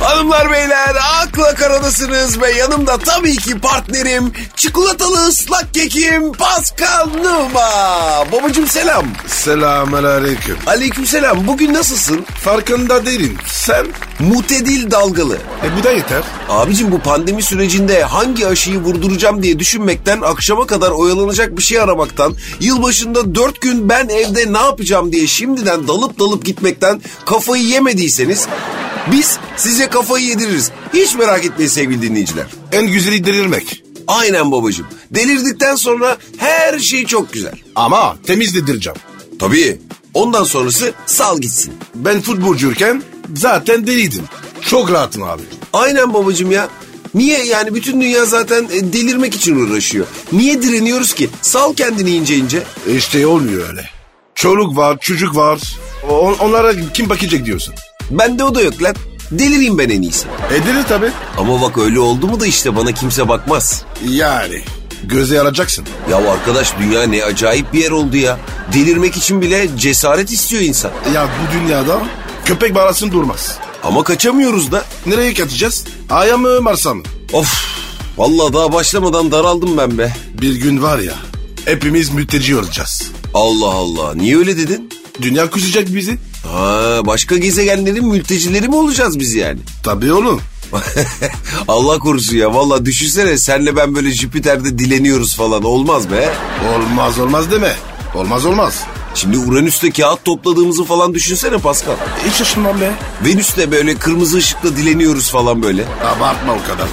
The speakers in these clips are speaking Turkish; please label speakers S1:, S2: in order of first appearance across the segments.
S1: Hanımlar beyler akla karadasınız ve yanımda tabii ki partnerim çikolatalı ıslak kekim Pascal Numa. Babacım selam.
S2: Selamun aleyküm.
S1: Aleykümselam bugün nasılsın?
S2: Farkında değilim. Sen?
S1: Mutedil dalgalı.
S2: E bu da yeter.
S1: Abicim bu pandemi sürecinde hangi aşıyı vurduracağım diye düşünmekten akşama kadar oyalanacak bir şey aramaktan, yılbaşında dört gün ben evde ne yapacağım diye şimdiden dalıp dalıp gitmekten kafayı yemediyseniz biz size kafayı yediririz. Hiç merak etmeyin sevgili dinleyiciler.
S2: En güzeli delirmek.
S1: Aynen babacım. Delirdikten sonra her şey çok güzel.
S2: Ama temiz dedireceğim.
S1: Tabii. Ondan sonrası sal gitsin.
S2: Ben futbolcuyken zaten deliydim. Çok rahatım abi.
S1: Aynen babacım ya. Niye yani bütün dünya zaten e, delirmek için uğraşıyor. Niye direniyoruz ki? Sal kendini ince ince.
S2: E işte olmuyor öyle. Çoluk var, çocuk var. O- onlara kim bakacak diyorsun?
S1: Bende o da yok lan. Delireyim ben en iyisi.
S2: E delir tabii.
S1: Ama bak öyle oldu mu da işte bana kimse bakmaz.
S2: Yani. Göze alacaksın.
S1: Ya arkadaş dünya ne acayip bir yer oldu ya. Delirmek için bile cesaret istiyor insan.
S2: Ya bu dünyada köpek bağlasın durmaz.
S1: Ama kaçamıyoruz da.
S2: Nereye kaçacağız? Aya mı Mars'a mı?
S1: Of vallahi daha başlamadan daraldım ben be.
S2: Bir gün var ya hepimiz mülteci olacağız.
S1: Allah Allah niye öyle dedin?
S2: Dünya kusacak bizi.
S1: Ha, başka gezegenlerin mültecileri mi olacağız biz yani?
S2: Tabii oğlum.
S1: Allah korusun ya valla düşünsene senle ben böyle Jüpiter'de dileniyoruz falan olmaz be.
S2: Olmaz olmaz deme. Olmaz olmaz.
S1: Şimdi Uranüs'te kağıt topladığımızı falan düşünsene Pascal.
S2: Hiç şaşırmam be.
S1: Venüs'te böyle kırmızı ışıkla dileniyoruz falan böyle.
S2: Abartma o kadar.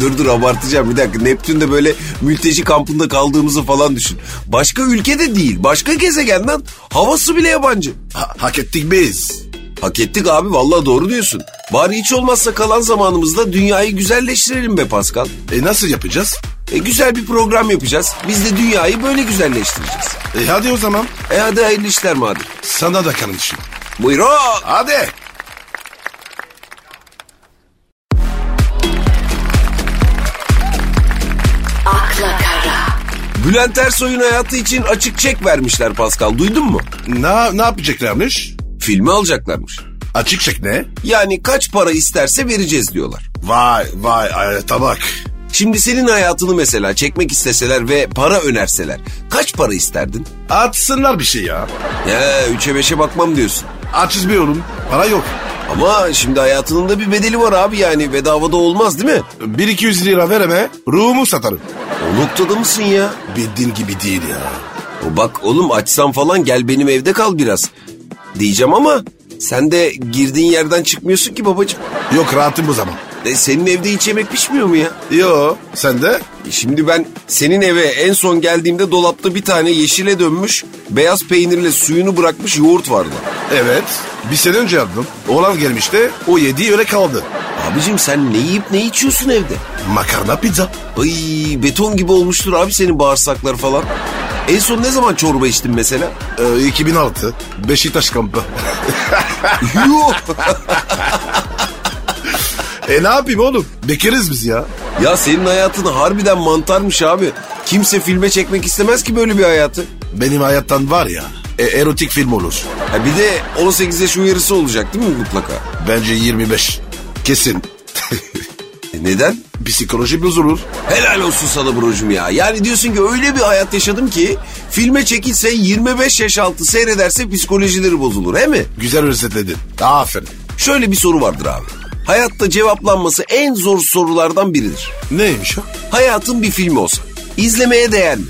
S1: dur dur abartacağım bir dakika. Neptün'de böyle mülteci kampında kaldığımızı falan düşün. Başka ülkede değil başka gezegenden havası bile yabancı.
S2: Ha- hak ettik biz.
S1: Hak ettik abi valla doğru diyorsun. Bari hiç olmazsa kalan zamanımızda dünyayı güzelleştirelim be Pascal.
S2: E nasıl yapacağız?
S1: E, güzel bir program yapacağız. Biz de dünyayı böyle güzelleştireceğiz.
S2: E hadi o zaman.
S1: E hadi hayırlı işler madem.
S2: Sana da kardeşim.
S1: Buyur o.
S2: Hadi.
S3: akla kara,
S1: Bülent Ersoy'un hayatı için açık çek vermişler Pascal. Duydun mu?
S2: Ne, ne yapacaklarmış?
S1: Filmi alacaklarmış.
S2: Açık çek ne?
S1: Yani kaç para isterse vereceğiz diyorlar.
S2: Vay vay ay, tabak.
S1: Şimdi senin hayatını mesela çekmek isteseler ve para önerseler kaç para isterdin?
S2: Atsınlar bir şey ya.
S1: Ya üçe beşe bakmam diyorsun.
S2: Açız bir oğlum. Para yok.
S1: Ama şimdi hayatının da bir bedeli var abi yani bedava da olmaz değil mi?
S2: 1-200 lira vereme ruhumu satarım.
S1: O noktada mısın ya?
S2: Bildiğin gibi değil ya.
S1: O Bak oğlum açsam falan gel benim evde kal biraz. Diyeceğim ama sen de girdiğin yerden çıkmıyorsun ki babacığım.
S2: Yok rahatım bu zaman.
S1: E senin evde hiç yemek pişmiyor mu ya? E
S2: Yo sen de?
S1: Şimdi ben senin eve en son geldiğimde dolapta bir tane yeşile dönmüş, beyaz peynirle suyunu bırakmış yoğurt vardı.
S2: Evet. Bir sene önce yaptım. Oğlan gelmişti. O yedi öyle kaldı.
S1: Abicim sen ne yiyip ne içiyorsun evde?
S2: Makarna pizza.
S1: Ay beton gibi olmuştur abi senin bağırsaklar falan. En son ne zaman çorba içtin mesela?
S2: Ee, 2006. Beşiktaş kampı.
S1: Yuh!
S2: e ne yapayım oğlum? Bekeriz biz ya.
S1: ya senin hayatın harbiden mantarmış abi. Kimse filme çekmek istemez ki böyle bir hayatı.
S2: Benim hayattan var ya. e, erotik film olur.
S1: Ha bir de 18 yaş uyarısı olacak değil mi mutlaka?
S2: Bence 25. Kesin.
S1: E neden?
S2: Psikoloji bozulur.
S1: Helal olsun sana brocum ya. Yani diyorsun ki öyle bir hayat yaşadım ki filme çekilse 25 yaş altı seyrederse psikolojileri bozulur he mi?
S2: Güzel özetledin. Aferin.
S1: Şöyle bir soru vardır abi. Hayatta cevaplanması en zor sorulardan biridir.
S2: Neymiş o?
S1: Hayatın bir filmi olsa izlemeye değer mi?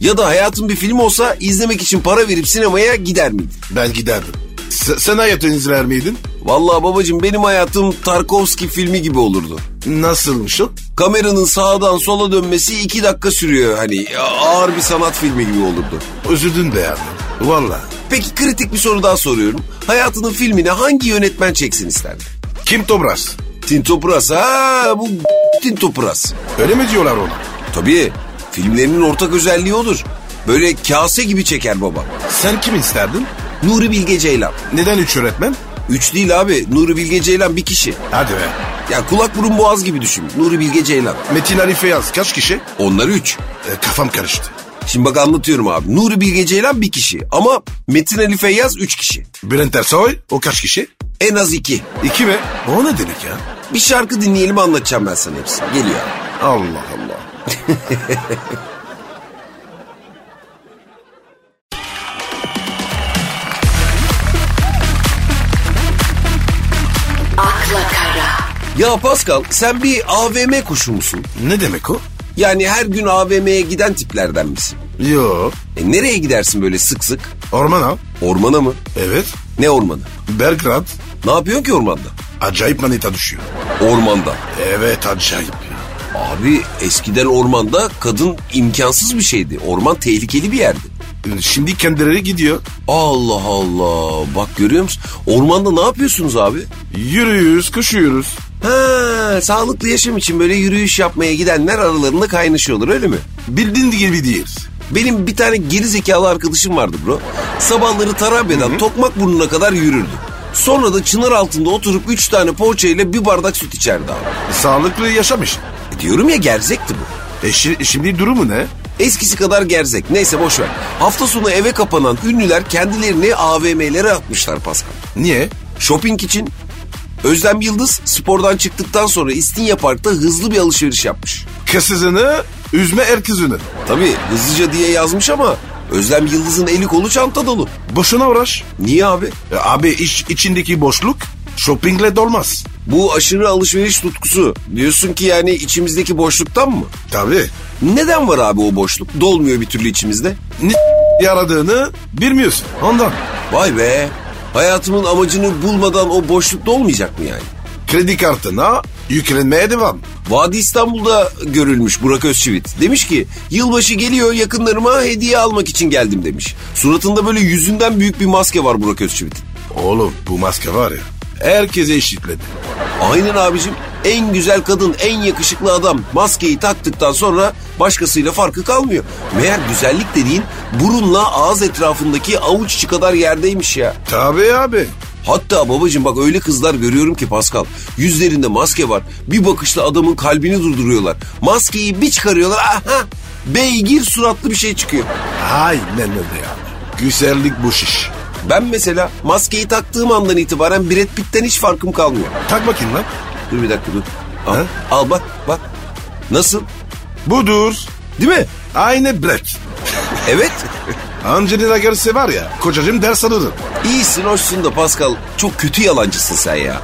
S1: Ya da hayatın bir filmi olsa izlemek için para verip sinemaya gider miydin?
S2: Ben giderdim. S- sen hayatını izler miydin?
S1: Vallahi babacığım benim hayatım Tarkovski filmi gibi olurdu.
S2: Nasılmış o?
S1: Kameranın sağdan sola dönmesi iki dakika sürüyor hani ağır bir sanat filmi gibi olurdu.
S2: Üzüldün be yani. Valla.
S1: Peki kritik bir soru daha soruyorum. Hayatının filmini hangi yönetmen çeksin isterdin?
S2: Kim Tobras?
S1: Tinto Pras. Ha bu Tinto Pras.
S2: Öyle mi diyorlar ona?
S1: Tabii filmlerinin ortak özelliği odur. Böyle kase gibi çeker baba.
S2: Sen kim isterdin?
S1: Nuri Bilge Ceylan.
S2: Neden üç öğretmen?
S1: Üç değil abi Nuri Bilge Ceylan bir kişi.
S2: Hadi be.
S1: Ya kulak burun boğaz gibi düşün. Nuri Bilge Ceylan.
S2: Metin Arife yaz. Kaç kişi?
S1: Onlar üç.
S2: E, kafam karıştı.
S1: Şimdi bak anlatıyorum abi. Nuri Bilge Ceylan bir kişi ama Metin Ali Feyyaz üç kişi.
S2: Bülent Ersoy o kaç kişi?
S1: En az iki.
S2: İki mi? O ne demek ya?
S1: Bir şarkı dinleyelim anlatacağım ben sana hepsini. Geliyor.
S2: Allah Allah.
S3: akla kara,
S1: Ya Pascal sen bir AVM kuşu musun?
S2: Ne demek o?
S1: Yani her gün AVM'ye giden tiplerden misin?
S2: Yo.
S1: E nereye gidersin böyle sık sık?
S2: Orman ha?
S1: Ormana mı?
S2: Evet.
S1: Ne ormanı?
S2: Belgrad.
S1: Ne yapıyorsun ki ormanda?
S2: Acayip manita düşüyor.
S1: Ormanda.
S2: Evet acayip ya.
S1: Abi eskiden ormanda kadın imkansız bir şeydi. Orman tehlikeli bir yerdi.
S2: Şimdi kendileri gidiyor.
S1: Allah Allah. Bak görüyor musun? Ormanda ne yapıyorsunuz abi?
S2: Yürüyoruz, koşuyoruz.
S1: Ha, sağlıklı yaşam için böyle yürüyüş yapmaya gidenler aralarında kaynaşıyorlar öyle mi?
S2: Bildiğin gibi değil.
S1: Benim bir tane geri zekalı arkadaşım vardı bro. Sabahları Tarabya'dan Tokmakburnu'na kadar yürürdü. Sonra da çınar altında oturup üç tane poğaça ile bir bardak süt içerdi abi.
S2: Sağlıklı yaşamış.
S1: E diyorum ya gerzekti bu.
S2: E şi- şimdi durumu ne?
S1: Eskisi kadar gerzek. Neyse boş ver. Hafta sonu eve kapanan ünlüler kendilerini AVM'lere atmışlar Pascal.
S2: Niye?
S1: Shopping için Özlem Yıldız spordan çıktıktan sonra İstinye Park'ta hızlı bir alışveriş yapmış.
S2: Kasızını, üzme erkizini.
S1: Tabii hızlıca diye yazmış ama Özlem Yıldız'ın eli kolu çanta dolu.
S2: Boşuna uğraş.
S1: Niye abi?
S2: E, abi iç, içindeki boşluk shoppingle dolmaz.
S1: Bu aşırı alışveriş tutkusu. Diyorsun ki yani içimizdeki boşluktan mı?
S2: Tabii.
S1: Neden var abi o boşluk? Dolmuyor bir türlü içimizde.
S2: Ne yaradığını bilmiyorsun. Ondan.
S1: Vay be. Hayatımın amacını bulmadan o boşluk dolmayacak mı yani?
S2: Kredi kartına yüklenmeye devam.
S1: Vadi İstanbul'da görülmüş Burak Özçivit. Demiş ki yılbaşı geliyor yakınlarıma hediye almak için geldim demiş. Suratında böyle yüzünden büyük bir maske var Burak Özçivit'in.
S2: Oğlum bu maske var ya. Herkese eşitledi.
S1: Aynen abicim en güzel kadın en yakışıklı adam maskeyi taktıktan sonra başkasıyla farkı kalmıyor. Meğer güzellik dediğin burunla ağız etrafındaki avuç içi kadar yerdeymiş ya.
S2: Tabii abi.
S1: Hatta babacığım bak öyle kızlar görüyorum ki Pascal. Yüzlerinde maske var. Bir bakışla adamın kalbini durduruyorlar. Maskeyi bir çıkarıyorlar. Aha! Beygir suratlı bir şey çıkıyor.
S2: Aynen öyle ya. Güzellik boş iş.
S1: Ben mesela maskeyi taktığım andan itibaren Brad Pitt'ten hiç farkım kalmıyor.
S2: Tak bakayım lan.
S1: Dur bir dakika dur. Al,
S2: Ha?
S1: al bak bak. Nasıl?
S2: Budur.
S1: Değil mi?
S2: Aynı Brad.
S1: Evet.
S2: Angelina Garcia var ya. Kocacığım ders alırım.
S1: İyisin hoşsun da Pascal. Çok kötü yalancısın sen ya.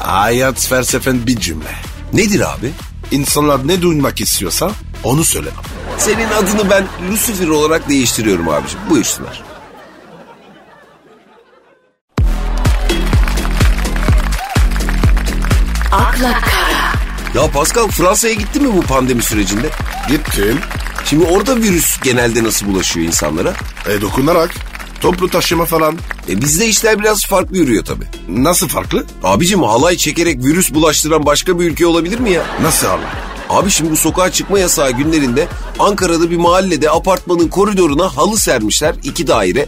S2: Hayat felsefen bir cümle.
S1: Nedir abi?
S2: İnsanlar ne duymak istiyorsa onu söylemem.
S1: Senin adını ben Lucifer olarak değiştiriyorum abicim. Buyursunlar.
S3: akla kara,
S1: Ya Pascal Fransa'ya gittin mi bu pandemi sürecinde?
S2: Gittim.
S1: Şimdi orada virüs genelde nasıl bulaşıyor insanlara?
S2: E, dokunarak. Toplu taşıma falan.
S1: E bizde işler biraz farklı yürüyor tabii.
S2: Nasıl farklı?
S1: Abicim halay çekerek virüs bulaştıran başka bir ülke olabilir mi ya?
S2: Nasıl Allah?
S1: Abi şimdi bu sokağa çıkma yasağı günlerinde Ankara'da bir mahallede apartmanın koridoruna halı sermişler iki daire.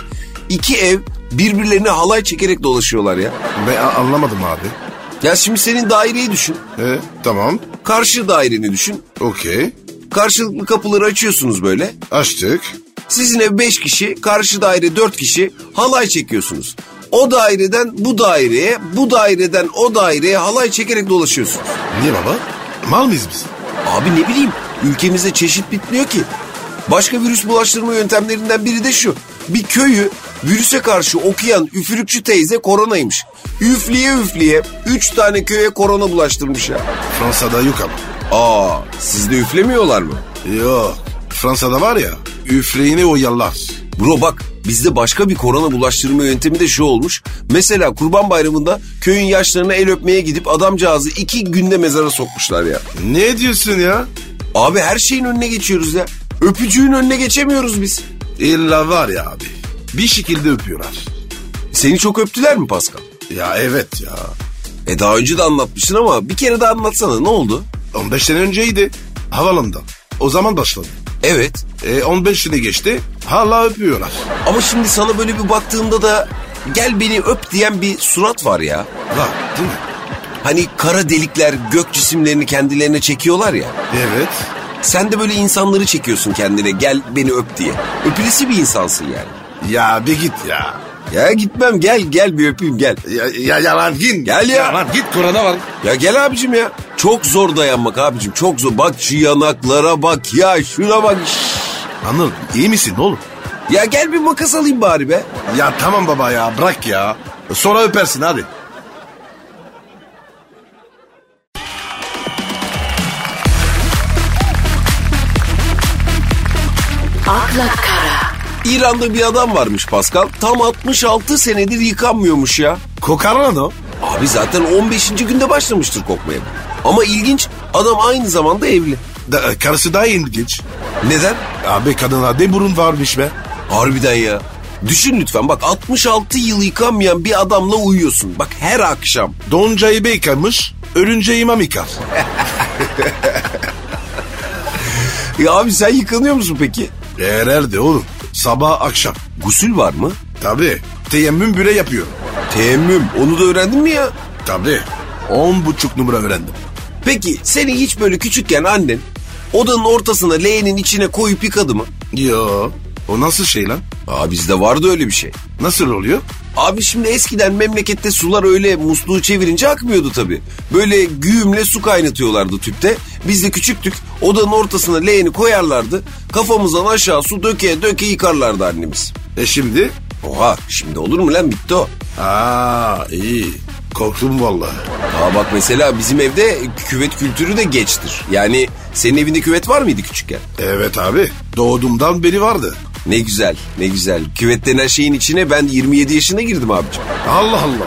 S1: iki ev birbirlerine halay çekerek dolaşıyorlar ya.
S2: Ben a- anlamadım abi.
S1: Ya şimdi senin daireyi düşün.
S2: E, tamam.
S1: Karşı daireni düşün.
S2: Okey.
S1: Karşılıklı kapıları açıyorsunuz böyle.
S2: Açtık.
S1: Sizin ev 5 kişi, karşı daire 4 kişi halay çekiyorsunuz. O daireden bu daireye, bu daireden o daireye halay çekerek dolaşıyorsunuz.
S2: Niye baba? Mal mıyız biz?
S1: Abi ne bileyim ülkemizde çeşit bitmiyor ki. Başka virüs bulaştırma yöntemlerinden biri de şu. Bir köyü virüse karşı okuyan üfürükçü teyze koronaymış. Üfleye üfleye 3 tane köye korona bulaştırmış ya.
S2: Fransa'da yok ama.
S1: Aa sizde üflemiyorlar mı?
S2: Yok. Fransa'da var ya. Üfleyini oyarlar.
S1: Bro bak bizde başka bir korona bulaştırma yöntemi de şu olmuş. Mesela kurban bayramında köyün yaşlarına el öpmeye gidip adamcağızı iki günde mezara sokmuşlar ya.
S2: Ne diyorsun ya?
S1: Abi her şeyin önüne geçiyoruz ya. Öpücüğün önüne geçemiyoruz biz.
S2: İlla var ya abi. Bir şekilde öpüyorlar.
S1: Seni çok öptüler mi Pascal?
S2: Ya evet ya.
S1: E daha önce de anlatmıştın ama bir kere daha anlatsana ne oldu?
S2: 15 sene önceydi. Havalandan. O zaman başladı.
S1: Evet
S2: E, 15 sene geçti. Hala öpüyorlar.
S1: ama şimdi sana böyle bir baktığımda da gel beni öp diyen bir surat var ya.
S2: Var değil mi?
S1: Hani kara delikler gök cisimlerini kendilerine çekiyorlar ya.
S2: Evet.
S1: Sen de böyle insanları çekiyorsun kendine gel beni öp diye. Öpülesi bir insansın yani.
S2: Ya bir git ya.
S1: Ya gitmem gel gel bir öpeyim gel.
S2: Ya, ya, ya lan git.
S1: Gel ya.
S2: lan git Kur'an'a var.
S1: Ya gel abicim ya. Çok zor dayanmak abicim çok zor. Bak şu yanaklara bak ya şuna bak.
S2: Anıl iyi misin oğlum?
S1: Ya gel bir makas alayım bari be.
S2: Ya tamam baba ya bırak ya. Sonra öpersin hadi.
S3: akla kara,
S1: İran'da bir adam varmış Pascal. Tam 66 senedir yıkanmıyormuş ya.
S2: Kokaran o.
S1: Abi zaten 15. günde başlamıştır kokmaya. Ama ilginç adam aynı zamanda evli.
S2: Da, karısı daha iyi geç.
S1: Neden?
S2: Abi kadınlarda ne burun varmış be.
S1: Harbiden ya. Düşün lütfen bak 66 yıl yıkanmayan bir adamla uyuyorsun. Bak her akşam.
S2: Doncayı bey yıkamış, ölünce imam yıkar.
S1: Ya E abi sen yıkanıyor musun peki?
S2: Herhalde oğlum. Sabah akşam.
S1: Gusül var mı?
S2: Tabii. Teyemmüm bile yapıyor.
S1: Teemmüm. Onu da öğrendin mi ya?
S2: Tabii. On buçuk numara öğrendim.
S1: Peki seni hiç böyle küçükken annen odanın ortasına leğenin içine koyup yıkadı mı?
S2: Yo. O nasıl şey lan?
S1: Aa bizde vardı öyle bir şey.
S2: Nasıl oluyor?
S1: Abi şimdi eskiden memlekette sular öyle musluğu çevirince akmıyordu tabii. Böyle güğümle su kaynatıyorlardı tüpte. Biz de küçüktük. Odanın ortasına leğeni koyarlardı. Kafamızdan aşağı su döke döke yıkarlardı annemiz.
S2: E şimdi?
S1: Oha şimdi olur mu lan bitti o.
S2: Aa iyi. Korktum vallahi.
S1: Aa bak mesela bizim evde küvet kültürü de geçtir. Yani senin evinde küvet var mıydı küçükken?
S2: Evet abi. Doğduğumdan beri vardı.
S1: Ne güzel, ne güzel. Küvet denen şeyin içine ben 27 yaşında girdim abicim.
S2: Allah Allah.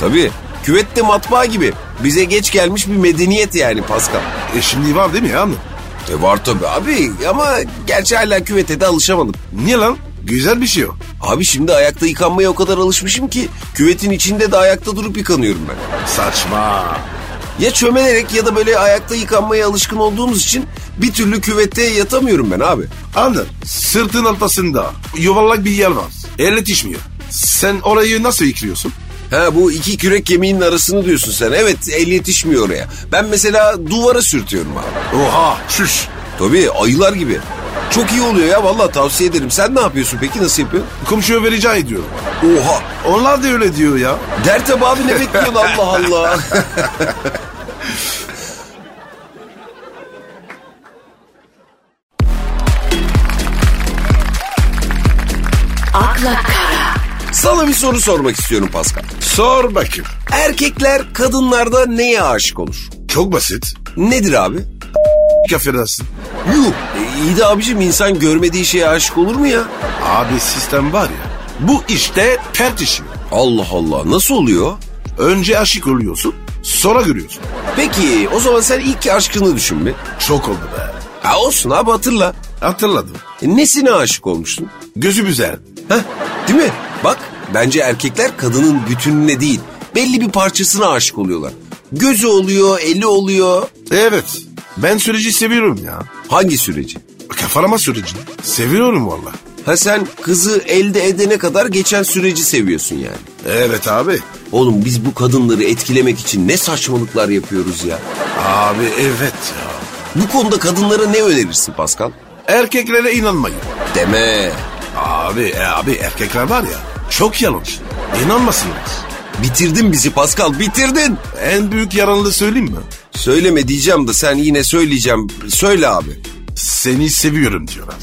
S1: Tabii. Küvet de matbaa gibi. Bize geç gelmiş bir medeniyet yani Pascal.
S2: E şimdi var değil mi ya?
S1: E var tabii abi ama gerçi hala küvete de alışamadım.
S2: Niye lan? Güzel bir şey o.
S1: Abi şimdi ayakta yıkanmaya o kadar alışmışım ki küvetin içinde de ayakta durup yıkanıyorum ben.
S2: Saçma.
S1: Ya çömelerek ya da böyle ayakta yıkanmaya alışkın olduğumuz için bir türlü küvette yatamıyorum ben abi.
S2: Anladın. Sırtın altasında yuvarlak bir yer var. El yetişmiyor. Sen orayı nasıl yıkıyorsun?
S1: Ha bu iki kürek kemiğinin arasını diyorsun sen. Evet el yetişmiyor oraya. Ben mesela duvara sürtüyorum abi.
S2: Oha şuş.
S1: Tabii ayılar gibi. Çok iyi oluyor ya vallahi tavsiye ederim. Sen ne yapıyorsun peki nasıl yapıyorsun?
S2: Komşuya vereceği diyor.
S1: Oha.
S2: Onlar da öyle diyor ya.
S1: Dertep abi ne bekliyorsun Allah Allah.
S3: akla kara,
S1: Sana bir soru sormak istiyorum Pascal.
S2: Sor bakayım.
S1: Erkekler kadınlarda neye aşık olur?
S2: Çok basit.
S1: Nedir abi?
S2: Kafirasın.
S1: Yuh. E, iyi de abicim insan görmediği şeye aşık olur mu ya?
S2: Abi sistem var ya. Bu işte tert işi.
S1: Allah Allah nasıl oluyor?
S2: Önce aşık oluyorsun. Sonra görüyorsun.
S1: Peki o zaman sen ilk aşkını düşün bir.
S2: Çok oldu be.
S1: Ha olsun abi hatırla.
S2: Hatırladım.
S1: E, nesine aşık olmuştun?
S2: Gözü güzel.
S1: Heh değil mi? Bak bence erkekler kadının bütününe değil belli bir parçasına aşık oluyorlar. Gözü oluyor, eli oluyor.
S2: Evet. Ben süreci seviyorum ya.
S1: Hangi süreci?
S2: Kafarama süreci. Seviyorum valla.
S1: Ha sen kızı elde edene kadar geçen süreci seviyorsun yani.
S2: Evet abi.
S1: Oğlum biz bu kadınları etkilemek için ne saçmalıklar yapıyoruz ya.
S2: Abi evet ya.
S1: Bu konuda kadınlara ne önerirsin Pascal?
S2: Erkeklere inanmayın.
S1: Deme.
S2: Abi e abi erkekler var ya çok yanlış. İnanmasınlar.
S1: Bitirdin bizi Pascal bitirdin.
S2: En büyük yaranlı söyleyeyim mi?
S1: Söyleme diyeceğim de sen yine söyleyeceğim. Söyle abi.
S2: Seni seviyorum diyorlar.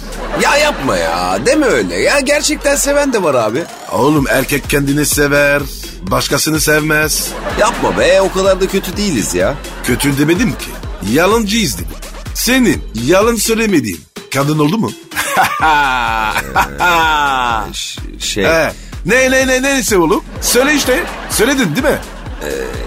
S1: Ya yapma ya deme öyle ya gerçekten seven de var abi.
S2: Oğlum erkek kendini sever, başkasını sevmez.
S1: Yapma be o kadar da kötü değiliz ya.
S2: Kötü demedim ki. Yalancıyız dedim. Senin yalan söylemediğin kadın oldu mu?
S1: Ş- şey
S2: He. Ne ne ne neyse oğlum. Söyle işte. Söyledin değil mi?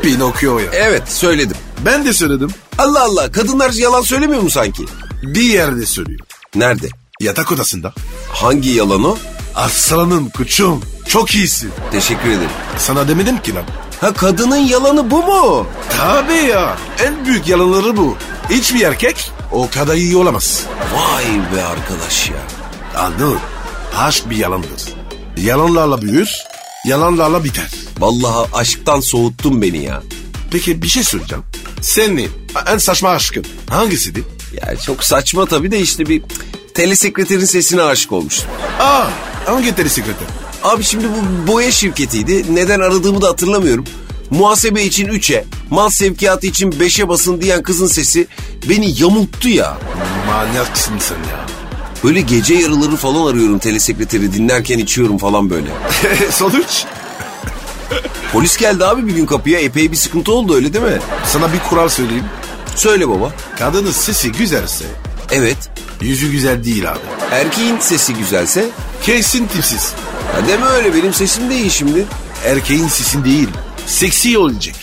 S2: Pinokyo ya.
S1: evet söyledim.
S2: Ben de söyledim.
S1: Allah Allah kadınlar yalan söylemiyor mu sanki?
S2: Bir yerde söylüyor.
S1: Nerede?
S2: Yatak odasında.
S1: Hangi yalan o?
S2: Aslanım kuçum çok iyisin.
S1: Teşekkür ederim.
S2: Sana demedim ki lan.
S1: Ha kadının yalanı bu mu?
S2: Tabii ya. En büyük yalanları bu. Hiçbir erkek o kadar iyi olamaz.
S1: Vay be arkadaş ya.
S2: Anladın mı? Aşk bir yalandır. Yalanlarla büyür, yalanlarla biter.
S1: Vallahi aşktan soğuttun beni ya.
S2: Peki bir şey söyleyeceğim. Senin en saçma aşkın hangisidir?
S1: Ya çok saçma tabii de işte bir telesekreterin sesine aşık olmuştum.
S2: Aa, hangi teri sekreter?
S1: Abi şimdi bu boya şirketiydi. Neden aradığımı da hatırlamıyorum. Muhasebe için 3'e, mal sevkiyatı için 5'e basın diyen kızın sesi beni yamulttu ya.
S2: Manyaksın sen ya.
S1: Böyle gece yarıları falan arıyorum telesekreteri dinlerken içiyorum falan böyle.
S2: Sonuç?
S1: Polis geldi abi bir gün kapıya epey bir sıkıntı oldu öyle değil mi?
S2: Sana bir kural söyleyeyim.
S1: Söyle baba.
S2: Kadının sesi güzelse
S1: Evet.
S2: yüzü güzel değil abi.
S1: Erkeğin sesi güzelse.
S2: Kesin tipsiz.
S1: Ya deme öyle benim sesim de iyi şimdi.
S2: Erkeğin sesi değil. Seksi olacak.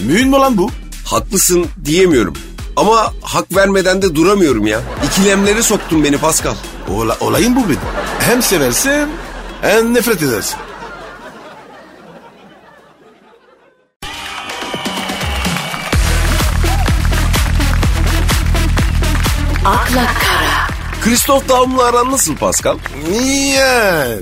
S2: Mühim mi lan bu?
S1: Haklısın diyemiyorum. Ama hak vermeden de duramıyorum ya. İkilemlere soktun beni Pascal.
S2: Ola, olayın bu benim. Hem seversin hem nefret edersin.
S3: akla kara,
S1: Kristof Daum'la aran nasıl Pascal?
S2: Yani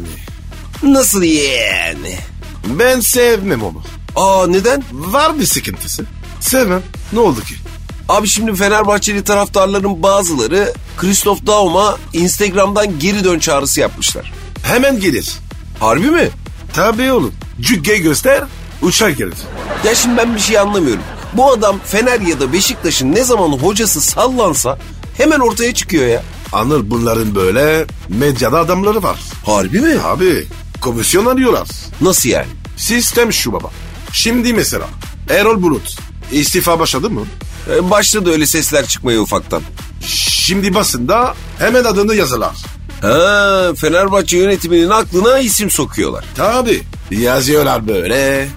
S1: Nasıl yani?
S2: ben sevmem onu.
S1: Aa neden?
S2: Var bir sıkıntısı. Sevmem. Ne oldu ki?
S1: Abi şimdi Fenerbahçeli taraftarların bazıları Kristof Daum'a Instagram'dan geri dön çağrısı yapmışlar.
S2: Hemen gelir.
S1: Harbi mi?
S2: Tabii oğlum. Cükke göster, uçak gelir.
S1: Ya şimdi ben bir şey anlamıyorum. Bu adam Fener ya da Beşiktaş'ın ne zaman hocası sallansa hemen ortaya çıkıyor ya.
S2: Anıl bunların böyle medyada adamları var.
S1: Harbi mi?
S2: Abi komisyon arıyorlar.
S1: Nasıl yani?
S2: Sistem şu baba. Şimdi mesela Erol Bulut istifa başladı mı?
S1: Ee, Başladı öyle sesler çıkmaya ufaktan.
S2: Şimdi basında hemen adını yazılar.
S1: Ha, Fenerbahçe yönetiminin aklına isim sokuyorlar.
S2: Tabi yazıyorlar böyle.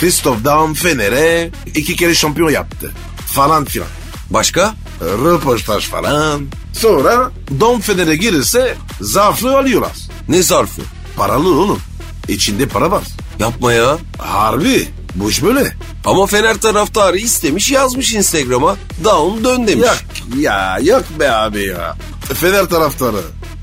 S2: Christoph Daum Fener'e iki kere şampiyon yaptı falan filan.
S1: Başka?
S2: Röportaj falan. Sonra Daum Fener'e girirse zarflı alıyorlar.
S1: Ne zarfı?
S2: Paralı oğlum. İçinde para var.
S1: Yapma ya.
S2: Harbi. Bu iş böyle.
S1: Ama Fener taraftarı istemiş yazmış Instagram'a. Down dön demiş.
S2: Yok ya yok be abi ya. Fener taraftarı.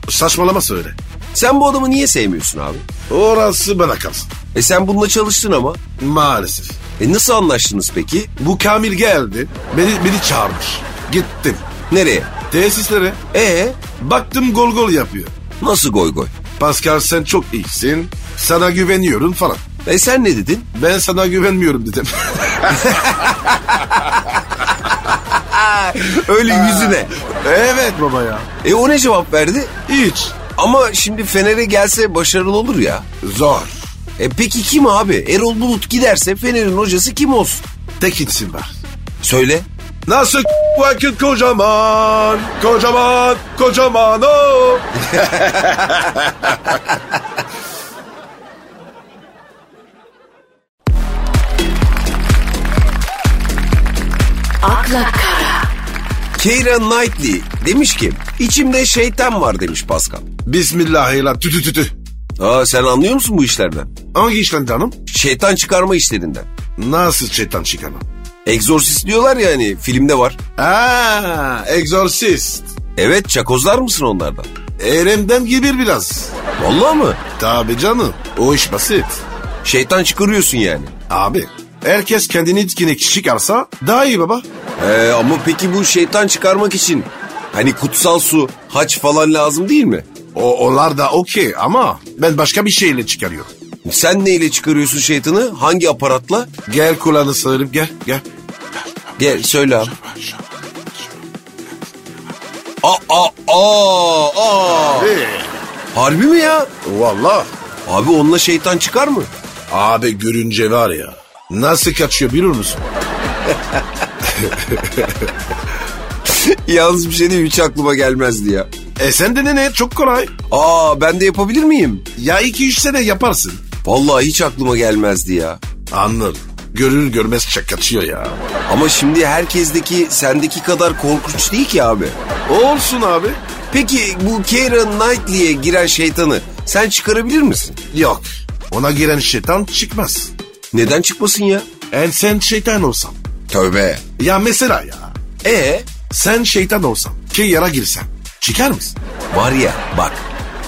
S2: Saçmalama söyle.
S1: Sen bu adamı niye sevmiyorsun abi?
S2: Orası bana kalsın.
S1: E sen bununla çalıştın ama.
S2: Maalesef.
S1: E nasıl anlaştınız peki?
S2: Bu Kamil geldi. Beni, beni çağırmış. Gittim.
S1: Nereye?
S2: Tesislere.
S1: E
S2: Baktım gol gol yapıyor.
S1: nasıl goy goy?
S2: Pascal sen çok iyisin. Sana güveniyorum falan.
S1: E sen ne dedin?
S2: Ben sana güvenmiyorum dedim.
S1: Öyle yüzüne.
S2: evet baba ya.
S1: E o ne cevap verdi?
S2: Hiç.
S1: Ama şimdi Fener'e gelse başarılı olur ya.
S2: Zor.
S1: E peki kim abi? Erol Bulut giderse Fener'in hocası kim olsun?
S2: Tek içsin var.
S1: Söyle.
S2: Nasıl vakit kocaman, kocaman, kocaman o.
S3: akla kara,
S1: Keira Knightley demiş ki içimde şeytan var demiş Pascal.
S2: Bismillahirrahmanirrahim. Tü tü tü tü.
S1: Aa sen anlıyor musun bu işlerden?
S2: Hangi işten canım?
S1: Şeytan çıkarma işlerinden.
S2: Nasıl şeytan çıkanı?
S1: Exorcist diyorlar ya hani filmde var.
S2: Aa, egzorsist.
S1: Evet çakozlar mısın onlardan?
S2: Erem'den gibi biraz.
S1: Vallahi mı?
S2: Tabi canım. O iş basit.
S1: Şeytan çıkarıyorsun yani.
S2: Abi herkes kendini içkine çıkarsa daha iyi baba.
S1: Ee, ama peki bu şeytan çıkarmak için hani kutsal su, haç falan lazım değil mi?
S2: O, onlar da okey ama ben başka bir şeyle çıkarıyorum.
S1: Sen neyle çıkarıyorsun şeytanı? Hangi aparatla?
S2: Gel kulağını sığırıp gel gel.
S1: Gel söyle abi. Aa, aa, aa, aa.
S2: Ee,
S1: Harbi mi ya?
S2: Valla
S1: Abi onunla şeytan çıkar mı?
S2: abi görünce var ya nasıl kaçıyor biliyor musun?
S1: Yalnız bir şey değil hiç aklıma gelmezdi ya.
S2: E sen de ne çok kolay.
S1: Aa ben de yapabilir miyim?
S2: Ya iki üç sene yaparsın.
S1: Vallahi hiç aklıma gelmezdi ya.
S2: Anlar. Görür görmez çak kaçıyor ya.
S1: Ama şimdi herkesteki sendeki kadar korkunç değil ki abi.
S2: Olsun abi.
S1: Peki bu Keira Knightley'e giren şeytanı sen çıkarabilir misin?
S2: Yok. Ona giren şeytan çıkmaz.
S1: Neden çıkmasın ya?
S2: En sen şeytan olsan.
S1: Tövbe.
S2: Ya mesela ya.
S1: E
S2: Sen şeytan olsan. Ki yara girsen. Çıkar mısın?
S1: var ya bak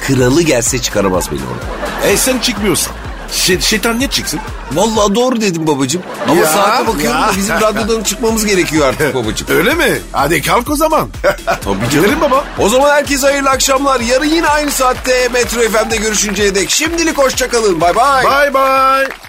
S1: kralı gelse çıkaramaz beni oradan.
S2: E sen çıkmıyorsan. Şey, şeytan niye çıksın?
S1: Vallahi doğru dedim babacığım. Ama
S4: Ya,
S1: saate bakıyorum
S4: ya.
S1: da bizim radyodan çıkmamız gerekiyor artık babacığım.
S2: Öyle mi? Hadi kalk o zaman. Tabii Gelirim baba.
S1: O zaman herkese hayırlı akşamlar. Yarın yine aynı saatte Metro FM'de görüşünceye dek. Şimdilik hoşçakalın. Bay bay.
S2: Bye bye.